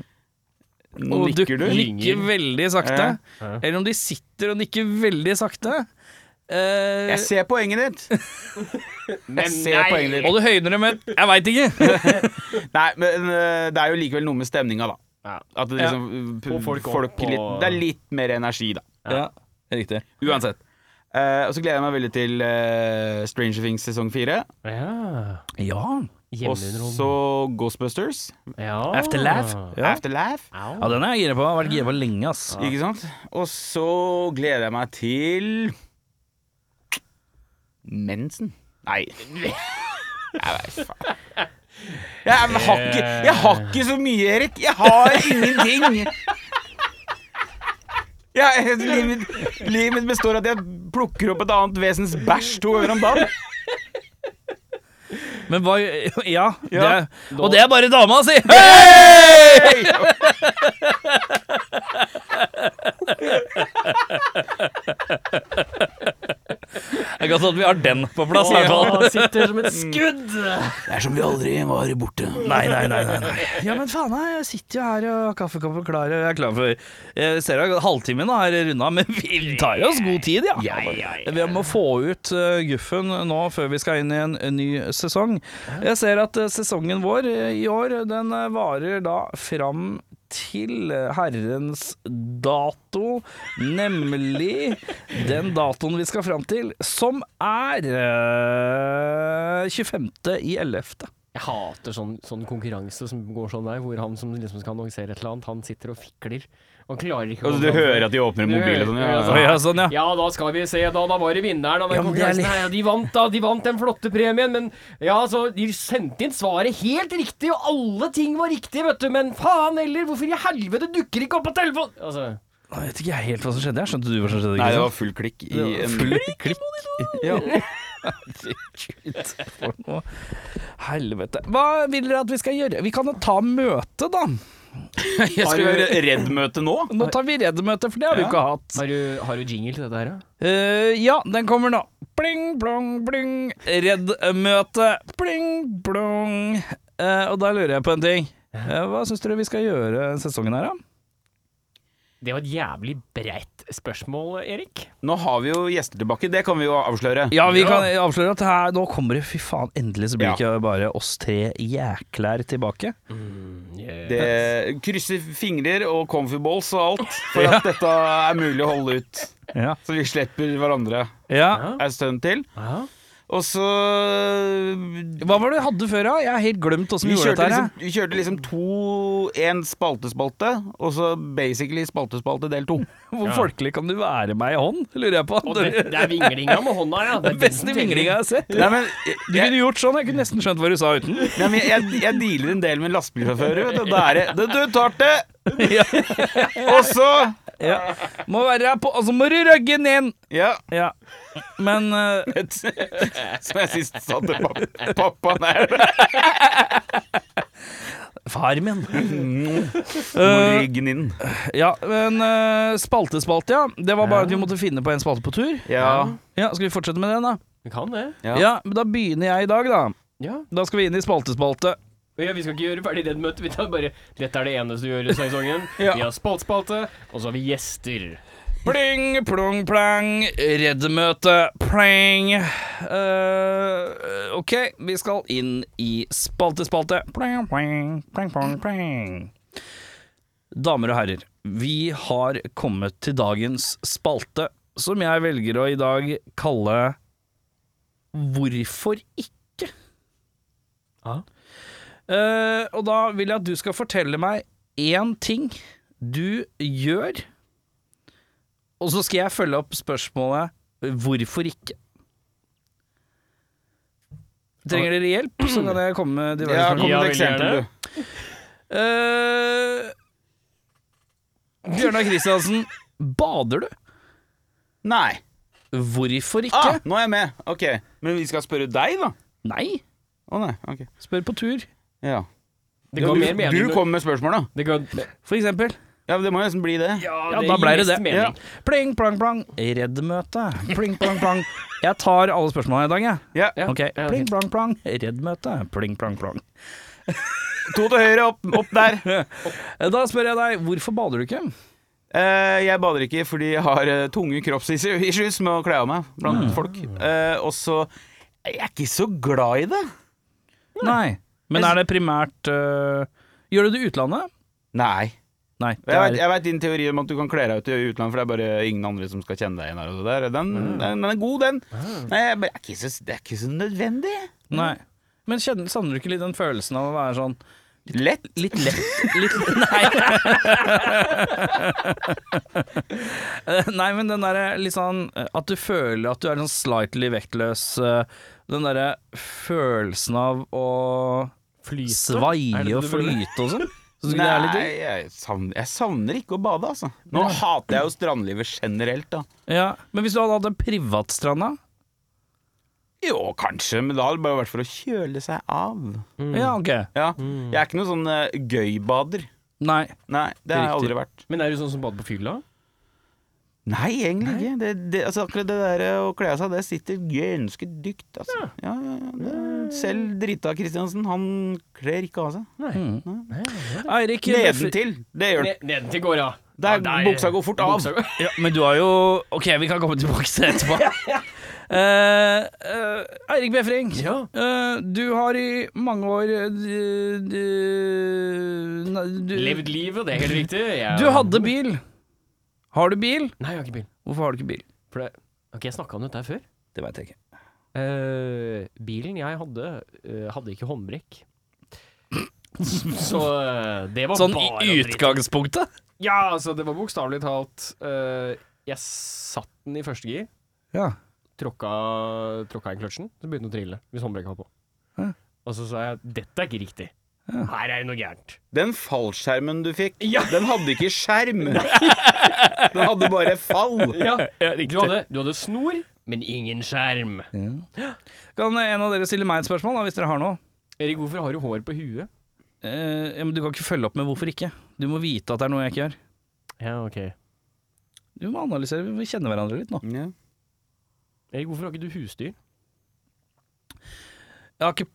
C: Nå
A: og
C: nikker du.
A: nikker veldig sakte, eller om de sitter og nikker veldig sakte eh,
C: Jeg ser poenget ditt. Jeg ser
B: nei.
C: poenget ditt.
A: Og du høyner det med 'jeg veit ikke'.
C: Nei, men eh, det er jo likevel noe med stemninga, da.
B: Ja.
C: At det
A: Ja.
C: liksom p-
B: Få folk opp
C: folk
B: og-
C: litt, Det er litt mer energi, da.
A: Ja, riktig.
C: Uansett. Eh, og så gleder jeg meg veldig til eh, Stranger Things sesong fire.
B: Ja.
A: Ja.
C: Og
B: Hjemmeunderholdning.
C: så Ghostbusters.
B: Ja.
A: Afterlaugh. Ja.
C: Afterlife.
A: Ja, den er jeg gira på. Jeg har vært gira på lenge, ass.
C: Ikke sant? Og så gleder jeg meg til Mensen. Nei. Jeg vet faen. Jeg har, ikke, jeg har ikke så mye, Erik. Jeg har ingenting. Jeg, livet, mitt- livet mitt består av at jeg plukker opp et annet vesens bæsj to ganger om dagen.
A: Men hva Ja. Det
C: Ja.
A: er, og det er bare dama si! Det er godt at vi har den på plass. i hvert fall.
B: Ja, sitter som et
A: Mm.
B: skudd!
C: Det er som vi aldri var borte.
A: Nei, nei, nei, nei, nei. Ja, men faen, jeg sitter jo her og har kaffekoppen klar. og Jeg er klar for Jeg ser jo at halvtimen har runda, men vi tar jo oss god tid, ja. Vi må få ut eh, guffen nå før vi skal inn i en ny sesong. Jeg ser at eh, sesongen vår eh, i år, den eh, varer da fram til herrens dato, nemlig den datoen vi skal fram til, som er eh, 25. i 11.
B: Jeg hater sånn, sånn konkurranse som går sånn der, hvor han som liksom skal annonsere et eller annet, han sitter og fikler og klarer ikke å
C: Og
A: Altså,
C: så Altså, du hører at de åpner en mobil og sånn. Ja,
A: Å ja, sånn, ja.
B: Ja, da skal vi se, da. Da var det vinneren av den
A: Ja, men det er
B: konkurransen.
A: litt-
B: her, og De vant, da. De vant den flotte premien. Men ja, så De sendte inn svaret helt riktig, og alle ting var riktig, vet du. Men faen heller, hvorfor i helvete dukker ikke opp på telefonen? Altså,
A: Nå vet ikke jeg helt hva som skjedde. Jeg skjønte du hva som
C: Nei,
A: skjedde?
C: det
A: Kristian?
C: var full klikk i
A: Det var
C: en
A: full
C: klikk. Ja.
A: Herregud, for noe helvete. Hva vil dere at vi skal gjøre? Vi kan jo ta møte, da.
C: Jeg skal gjøre Redd-møte nå.
A: Nå tar vi reddemøte, for det har vi
C: Ja.
A: ikke hatt.
B: har, du, har du jingle til dette her, da?
A: Eh, ja, den kommer nå. Pling, blong, bling. Reddmøte. Pling, blong. Eh, og da lurer jeg på en ting. Eh, hva syns dere vi skal gjøre sesongen her, da?
B: Det var et jævlig bredt spørsmål, Erik.
C: Nå har vi jo gjester tilbake, det kan vi jo avsløre.
A: Ja, vi kan avsløre at her, nå kommer det Fy faen, endelig så blir
C: Ja.
A: det ikke bare oss tre jæklær tilbake.
C: Det, krysse fingrer og comfyballs og alt for at dette er mulig å holde ut.
A: Ja.
C: Så vi slipper hverandre
A: ja.
C: en stund til.
B: Ja.
C: Og så
A: Hva var det du hadde før, da? Jeg har helt glemt åssen
C: vi
A: vi gjorde
C: kjørte,
A: dette her.
C: liksom, vi kjørte liksom to En spalte-spalte, og så basically spalte-spalte del to.
A: jeg. Hvor folkelig kan du være meg i hånd, lurer jeg på.
B: Og det,
A: Det
B: det er vinglinga med hånda, ja. Det
A: er beste vinglinga jeg har sett.
C: Nei, men
A: Du
C: jeg,
A: kunne gjort sånn, jeg kunne nesten skjønt hva du sa uten.
C: nei, men jeg, jeg dealer en del med lastebilsjåfører. vet du. Da er det Du, du tar det!
A: Ja.
C: Og så
A: Ja. Må være på Og så må du røgge den inn!
C: Ja.
A: Ja. Men eh,
C: Et, som jeg sist sa til pappa, pappa nei,
A: Far min.
C: må
A: Eh,
C: ligge den inn.
A: ja, men eh, spaltespalte, ja. Det var bare at vi måtte finne på en spalte på tur.
C: Ja.
A: Ja, Skal vi fortsette med den, da?
B: Vi kan det.
C: Ja.
A: Ja, men Da begynner jeg i dag, da.
B: Ja.
A: Da skal vi inn i spaltespalte.
B: Og ja, Vi skal ikke gjøre ferdig det møtet. Vi tar bare Dette er det eneste du gjør i sesongen.
A: Ja.
B: Vi har spaltspalte, og så har vi gjester.
A: Pling, plong, plang. Redd-møte. Pling. Eh, ok, vi skal inn i spaltespalte. Pling, pling, pling, pling, pling. Damer og herrer, vi har kommet til dagens spalte, som jeg velger å i dag kalle Hvorfor ikke?
B: Ja.
A: Eh, og da vil jeg at du skal fortelle meg én ting du gjør og så skal jeg følge opp spørsmålet hvorfor ikke? Trenger dere hjelp, så kan jeg komme med diverse
C: Ja, kom med
A: spørsmål.
C: et
B: Ja, veldig
C: eksempel,
B: gjerne.
C: du.
A: Eh, Bjørnar Kristiansen, bader du?
C: Nei.
A: Hvorfor ikke?
C: Ah, nå er jeg med. Ok. Men vi skal spørre deg, da.
A: Nei,
C: Å nei. Ok.
A: spør på tur.
C: Ja.
B: Det
C: Ja,
B: ga
C: du,
B: mer mening.
C: du kommer med spørsmål, da.
B: Det ga,
A: For eksempel.
C: Ja, men Det må jo nesten bli det.
A: Ja,
B: det
A: da
B: gir
A: ble det
B: mest
A: det.
C: Ja.
B: mening.
A: Pling, plang, plang. Redd-møte. Pling, plang, plang. Jeg tar alle spørsmålene i dag, jeg.
C: Ja.
B: Ja.
A: Ok.
B: ja,
A: Pling,
B: fint.
A: plang, plang. Redd-møte. Pling, plang, plang.
C: To til høyre, opp, opp der.
A: Eh, Da spør jeg deg, hvorfor bader du ikke?
C: Eh, jeg bader ikke fordi jeg har eh, tunge kroppsissues med å kle av meg blant folk. Eh, og så Jeg er ikke så glad i det.
A: Nei. Men er det primært øh, Gjør du det i utlandet?
C: Nei.
A: Nei. Det
C: Jeg vet,
A: er,
C: jeg vet din teori om at du kan kle deg ut i utlandet, for det er bare ingen andre som skal kjenne deg igjen. her og det der. Den,
A: Mm.
C: den, den er god, den.
A: Ah.
C: Nei, jeg bare, jeg er ikke så, det er ikke så nødvendig.
A: nei. Men kjenner, savner du ikke litt den følelsen av å være sånn
C: Lett.
A: litt lett litt, Nei. Eh, nei, men den derre litt sånn eh, At du føler at du er sånn slightly vektløs. eh, Den derre følelsen av å
B: Flyte? Er det
A: svaie
B: det
A: og
B: du mener?
A: flyte og sånn. Synes du ikke det er litt
C: Nei,
A: digg?
C: jeg savner, jeg savner ikke å bade, altså. Nå hater jeg jo strandlivet generelt, da.
A: Ja. Men hvis du hadde hatt en privatstrand, da?
C: Jo, kanskje, men da hadde det bare vært for å kjøle seg av.
A: Ja, ok.
C: Ja,
A: Mm.
C: Jeg er ikke noen sånn eh, gøybader.
A: Nei.
C: Nei, det har jeg
A: Riktig.
C: aldri vært.
B: Men er du sånn som bader på fylla?
C: Nei, egentlig ikke. Det, det, altså, akkurat det der eh, å kle av seg, det sitter ganske dykt, altså. Ja, ja, ja, det- Selv drita Kristiansen, han kler ikke av seg.
A: Eirik Befri-
C: Nedentil, det gjør han.
B: Ned- Nedentil går, ja.
C: Der,
B: Ja, der-
C: buksa går fort av.
B: Buksa går-
A: Ja, men du har jo Ok, vi kan komme tilbake til det etterpå. Eh, eh, Eirik Befring,
B: Ja.
A: eh, du har i mange år eh, du, du, nei, du,
B: Levd livet, det er helt riktig. Jeg-
A: du hadde bil. Har du bil?
B: Nei, jeg har ikke bil.
A: Hvorfor har du ikke bil?
B: For det Ok, jeg snakka om dette her før.
A: Det veit jeg ikke.
B: Eh, bilen jeg hadde, eh, hadde ikke håndbrekk. Så eh, det var
A: Sånn
B: bare
A: i
B: å drite.
A: utgangspunktet?
B: Ja, altså, det var bokstavelig talt eh, Jeg satt den i første gir,
A: Ja.
B: tråkka, tråkka inn kløtsjen, så begynte den å trille hvis håndbrekket var på.
A: Hæ?
B: Og så sa jeg dette er ikke riktig. Her er det noe gærent.
C: Den fallskjermen du fikk,
B: Ja.
C: den hadde ikke skjerm. den hadde bare fall.
B: Ja, Eh, du, hadde, du hadde snor, men ingen skjerm.
A: Kan eh, en av dere stille meg et spørsmål, da, hvis dere har noe?
B: Erik, hvorfor har du hår på huet?
A: Eh, ja, men du kan ikke følge opp med hvorfor ikke. Du må vite at det er noe jeg ikke gjør.
B: Ja, ok.
A: Du må analysere, vi må kjenne hverandre litt nå.
C: Ja.
B: Erik, hvorfor har ikke du husdyr?
A: Jeg har ikke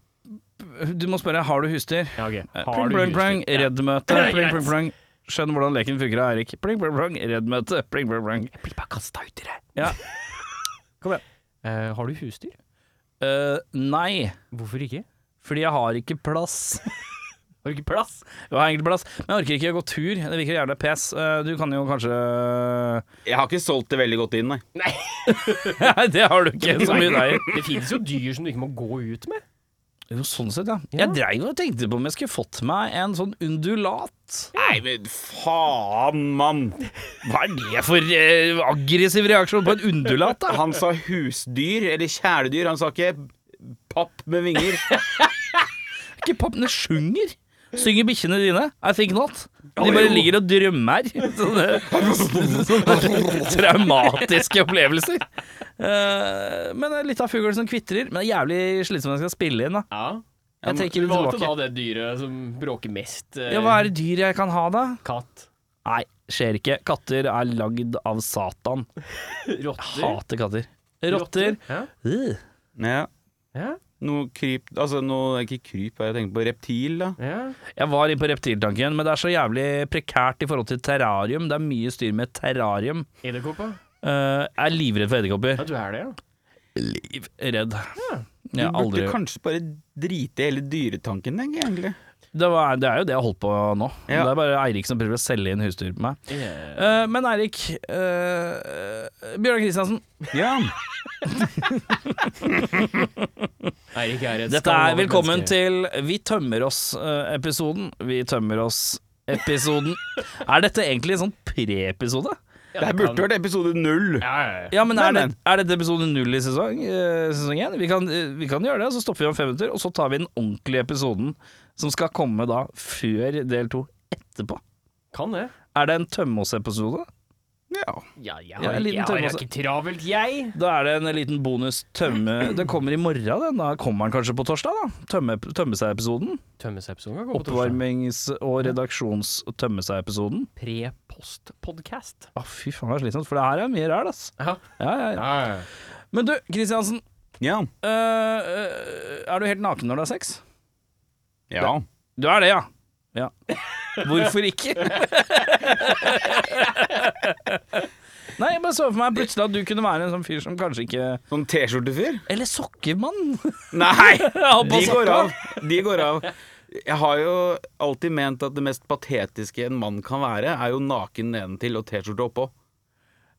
A: Du må spørre, har du husdyr?
B: Ja, ok.
A: Eh,
B: Eh,
A: Pling, pling, pling. Redd-møte.
B: Ja,
A: Pling,
B: greit.
A: pling, pling. Skjønn hvordan leken funker av Eirik. Pling, pling, pling. Redd møte. Pling, pling, pling.
B: Jeg blir bare kasta uti det.
A: Ja.
B: Eh, har du husdyr?
A: Eh, nei,
B: Hvorfor ikke?
A: fordi jeg har ikke plass.
B: Har du ikke plass?
A: Jeg har egentlig plass, men jeg orker ikke å gå tur. Det virker jævlig pes. Eh, du kan jo kanskje
C: Jeg har ikke solgt det veldig godt inn, nei.
B: Nei,
A: Nei, det har du ikke så mye nei.
B: Det finnes jo dyr som du ikke må gå ut med.
A: Jo, sånn sett, ja.
B: Ja.
A: Jeg dreiv og tenkte på om jeg skulle fått meg en sånn undulat.
C: Nei, men faen, mann!
A: Hva er det for eh, aggressiv reaksjon på en undulat, da?
C: Han sa husdyr, eller kjæledyr. Han sa ikke papp med vinger.
A: Ikke papp, den sjunger. Synger bikkjene dine? I think not. De bare ligger og drømmer. Sånne, sånne traumatiske opplevelser. Eh, men det er litt av fugl som kvitrer. Men det er jævlig slitsomt når jeg skal spille inn. da
B: Ja.
A: Jeg tenker
B: du
A: litt
B: valgte
A: tilbake.
B: da det dyret som bråker mest. eh,
A: Ja, Hva er det dyr jeg kan ha, da?
B: Katt.
A: Nei, skjer ikke. Katter er lagd av Satan.
B: Rotter.
A: Hater katter. Rotter.
B: Ja.
A: Øh.
C: Ja,
B: Ja.
C: noe kryp Altså, noe Ikke kryp, jeg tenker på reptil, da.
B: ja.
A: Jeg var inne på reptiltanken, men det er så jævlig prekært i forhold til terrarium. Det er mye styr med terrarium.
B: Edderkoppa.
A: Eh, jeg er livredd for edderkopper.
B: Ja, du er det, ja.
A: livredd.
C: Du
A: Jeg har aldri
C: burde kanskje bare drite i hele dyretanken, tenker jeg egentlig.
A: det, var, det er jo det jeg holder på nå.
C: Ja.
A: Det er bare Eirik som prøver å selge inn husdyr på meg.
B: Eh,
A: Eh, men Eirik eh, Bjørnar Kristiansen,
C: Ja.
B: Eirik er et
A: dette er
B: skandale
A: velkommen
B: menneske.
A: til Vi tømmer oss-episoden. Vi tømmer oss-episoden. er dette egentlig en sånn pre-episode?
B: Ja,
C: Det her burde
B: kan-
C: vært episode null.
B: Ja, ja, ja.
A: Ja, men er,
C: Men,
A: det, er dette episode null i sesong eh, sesong én? Vi, kan- eh, vi kan gjøre det, så stopper vi om fem minutter, og så tar vi den ordentlige episoden som skal komme da før del to etterpå.
B: Kan det.
A: Er det en tømme oss-episode?
C: Ja.
B: Ja, jeg
A: Ja,
B: har,
A: en liten
B: ikke- jeg har, jeg
A: tømmer
B: har ikke travelt, jeg.
A: Da er det en liten bonus tømme Det kommer i morgen, den. Da kommer den kanskje på torsdag, da. Tømme, tømme seg-episoden.
B: Tømmesepisoden kan gå på torsdag.
A: Oppvarmings- og redaksjons-tømme seg-episoden.
B: Pre-post-podkast.
A: Å, fy faen, det er slitsomt, for det her er mye ræl, ass.
B: Ja.
A: Ja, ja, ja.
B: Ja, ja.
A: Men du, Kristiansen.
C: Ja.
A: øh, øh, er du helt naken når du har sex?
C: ja.
A: Du er det, ja. ja. Hvorfor ikke? Nei, jeg bare så for meg plutselig at du kunne være en sånn fyr som kanskje ikke
C: Sånn T-skjortefyr?
A: Eller sokkemann!
C: Nei!
A: Ja, på
C: De går
A: sokker.
C: av. De går av. Jeg har jo alltid ment at det mest patetiske en mann kan være, er jo naken nedentil og T-skjorte oppå.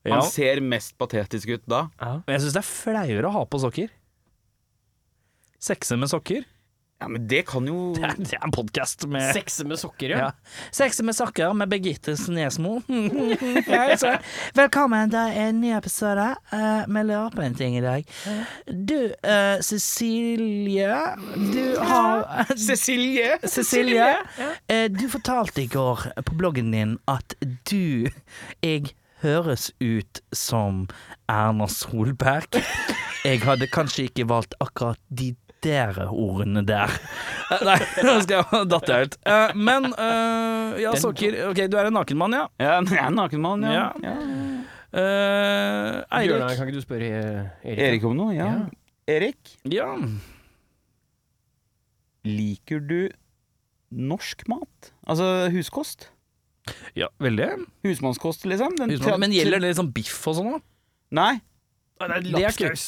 A: Ja.
C: Han ser mest patetisk ut da.
A: Men jeg syns det er flauere å ha på sokker. Sexe med sokker?
C: Ja, men det kan jo
A: Det er, det er en podkast med
B: Sexe med sokker, ja.
A: Eh. ja. Sexe med sokker med Birgitte Snesmo. Ja, så- Velkommen, det er en ny episode. Eh, Vi lurer på en ting i dag. Du, eh, Cecilie Du har
C: Cecilie!
A: Cecilie, eh, du fortalte i går på bloggen din at du Jeg høres ut som Erna Solberg. Jeg hadde kanskje ikke valgt akkurat de der ordene der. Eh, Nei, nå skal jeg datt jeg ut. Eh, Men eh, ja, sokker Ok, du er en nakenmann, ja.
C: Ja, jeg er en naken mann, ja. ja.
A: Eh,
B: Bjørnar,
A: Eirik.
B: kan ikke du spørre eh, Erik?
C: Erik om noe? Ja.
B: Ja.
C: Erik,
A: Ja.
C: liker du norsk mat? Altså huskost?
A: ja, veldig.
C: Husmannskost, liksom? Den tra-
A: Men gjelder det liksom biff og sånn òg?
C: Nei.
B: Ja, det er
A: Det er
B: lapskaus.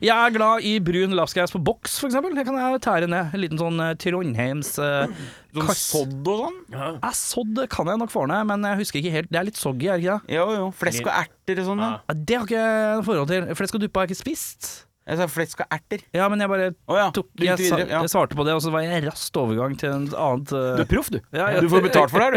A: Jeg er glad i brun lapskaus på boks, for eksempel. Det kan jeg tære ned. En liten sånn eh, Trondheims eh,
C: Sånn
A: kass.
C: sodd og sånn?
B: Ja.
A: Ja, sodd kan jeg nok forne, men jeg husker ikke helt. Det er litt soggy, er det ikke det?
C: Jo, jo. Flesk og erter og sånn. Ja.
B: Ja.
A: Ja, Det har ikke jeg noe forhold til. Flesk og duppe har jeg ikke spist.
C: Jeg sa flesk og erter.
A: Ja, men jeg bare
C: Å ja.
A: tok
C: Du
A: jeg,
C: gikk
A: sa-
C: videre. Ja.
A: jeg svarte på det, og så var jeg en rask overgang til en annet
C: Du
A: uh,
C: er proff, du.
A: ja, ja.
C: Du får betalt for det her, du.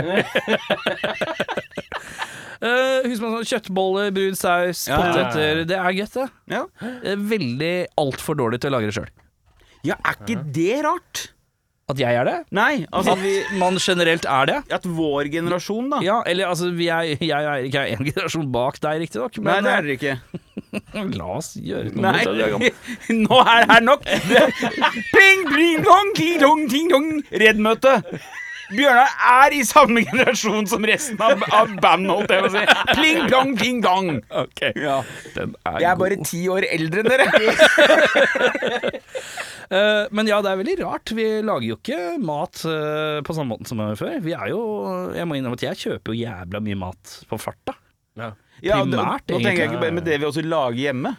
A: Eh, Husk på sånn kjøttboller, brun saus,
C: Ja, ja, ja.
A: poteter. Det er godt, det.
C: Ja.
A: Eh, Veldig altfor dårlig til å lagre sjøl.
C: ja, er ikke det rart?
A: At jeg er det?
C: Nei, altså vi,
A: Man generelt er det?
C: At vår generasjon, da.
A: Ja, eller altså, vi er, jeg og Eirik er én generasjon bak deg, riktignok,
C: Nei,
A: men
C: det er dere ikke.
A: eh, la oss gjøre noe
C: Nei,
A: mot det. det.
C: nå er det nok. Pling, pling, dong, ting, dong, ting, dong. Redd-møte. Bjørnar er i samme generasjon som resten av, av bandet, holdt jeg på å si. Pling, plong, ting, dong.
A: Ok,
C: Ja.
A: den er,
C: Jeg er
A: god.
C: bare ti år eldre enn dere.
A: Eh, men ja, det er veldig rart. Vi lager jo ikke mat eh, på samme måten som vi gjorde før. Vi er jo Jeg må innrømme at jeg kjøper jo jævla mye mat på farta.
B: Ja.
C: og da,
A: Primært,
C: da tenker jeg ikke
A: egentlig.
C: bare med det vi også lager hjemme.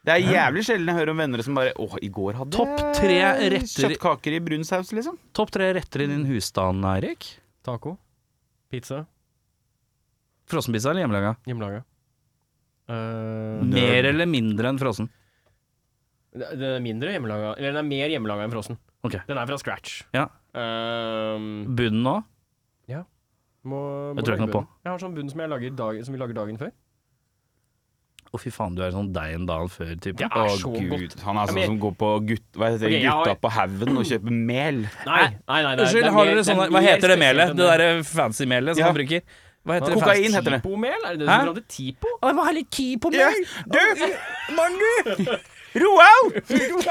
C: Det er jævlig sjelden jeg hører om venner som bare Åh, i går hadde
A: Topp tre
C: jeg
A: retter-
C: kjøttkaker i brun saus, liksom.
A: Topp tre retter i din husstand, Eirik?
B: Taco. Pizza.
A: Frossenpizza eller hjemmelaga?
B: Hjemmelaga. Eh,
A: Mer eller mindre enn frossen?
B: det, det er mindre hjemmelaga Eller den er mer hjemmelaga enn frossen.
A: Ok.
B: Den er fra scratch.
A: Ja.
B: Ehm,
A: Bunnen nå?
B: må, må
A: Jeg tror jeg
B: lage
A: ikke noe på.
B: bunnen. Jeg har sånn bunn som, jeg lager dag, som vi lager dagen før.
A: Å, fy faen, du er sånn deg en dag før-type.
B: Det er
C: Å,
B: så
C: Gud.
B: godt.
C: Han er
B: Ja,
C: sånn
B: men-
C: som går på gutt, hva heter det,
B: Ok, jeg har-
C: gutta på haugen og kjøper mel.
B: Nei, nei, nei. det er- det
A: Unnskyld,
B: er
A: har
B: mer-
A: dere
B: det er
A: sånne
B: mer
A: Hva heter det
B: spesielt
A: melet?
B: enn
A: Det derre fancy melet som
C: Ja.
A: man brukoker? Hva heter det?
C: Kokain heter det.
B: Tipo-mel? Er det det
A: Hæ?
B: som kaller det? Tipo?
A: Å, jeg må ha litt ki på
C: Ja,
A: meg!
C: du! Mandu! Roald! Har du,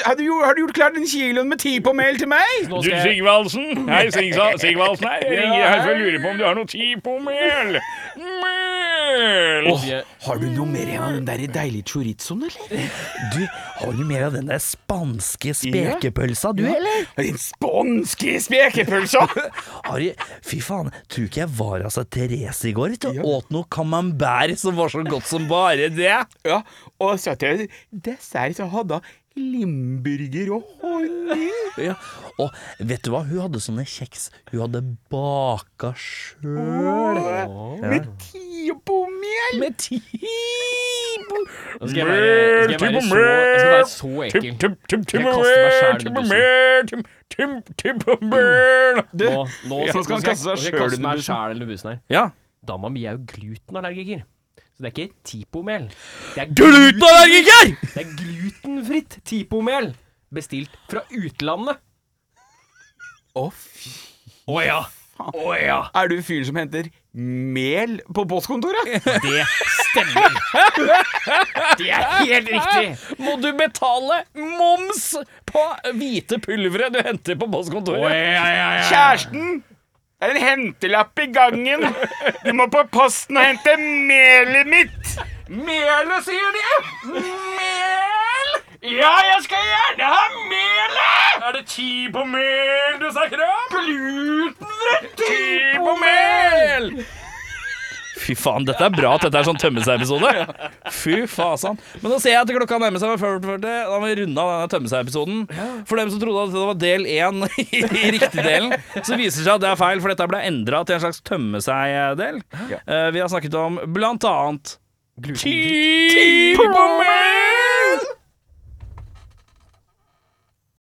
C: har, du, gjort- har du gjort klart en kiloen med ti på mel til meg?
B: Nå
D: Du,
B: skal jeg-
D: Sigvaldsen? Hei, Sigsa- Sigvaldsen her. Jeg ringer her for å
B: hei.
D: lure på om du har noe tid på mel. Mel!
C: Har du noe mer igjen av den der deilige chorizoen, eller?
A: Du, har du mer av den der spanske
C: spekepølsa,
A: du, eller?
C: Den spanske spekepølsa!
A: fy faen, tror ikke jeg var altså Therese i går, vet du. Åt noe camembert som var så godt som bare det.
C: Ja, og så til dessert så hadde hun limburger og honning.
A: Ja. Og vet du hva, hun hadde sånne kjeks hun hadde baka sjøl.
C: Med ti på mel!
A: Med ti
B: Nå skal jeg være, skal jeg være, så, jeg skal være så ekkel. Jeg kaster meg selv under bussen.
D: mel.
C: Du,
B: Nå, nå,
C: Ja,
B: nå
C: skal han kaste seg
B: nå skal jeg
C: selv
B: kaste
C: under
B: meg
C: bussen.
B: selv under bussen her.
A: Ja.
B: Dama mi er jo glutenallergiker. Så det er ikke tipomel. Det er,
A: Glutenallergiker!
B: gluten- det er glutenfritt tipomel bestilt fra utlandet.
C: Å, fy.
B: Å ja. Å ja.
C: Er du fyren som henter mel på postkontoret?
B: Det stemmer. Det er helt riktig.
A: Må du betale moms på hvite pulveret du henter på postkontoret?
B: ja, ja,
C: Kjæresten! Det er en hentelapp i gangen. Du må på posten og hente melet mitt. Melet, sier de. Mel! Ja, jeg skal gjerne ha melet!
D: Er det ti på mel du snakker om?
C: Glutenfritt ti
D: på mel!
A: Fy faen, dette er bra at dette er sånn tømmeseg-episode. Fy fasan. Men nå ser jeg at klokka nærmer seg 40. Da må vi runde av denne tømmeseg-episoden. For dem som trodde at det var del én i riktig delen, så viser det seg at det er feil, for dette ble endra til en slags tømmeseg-del.
C: Ja.
A: Eh, Vi har snakket om blant annet
B: Gluten.
A: Ti på mel!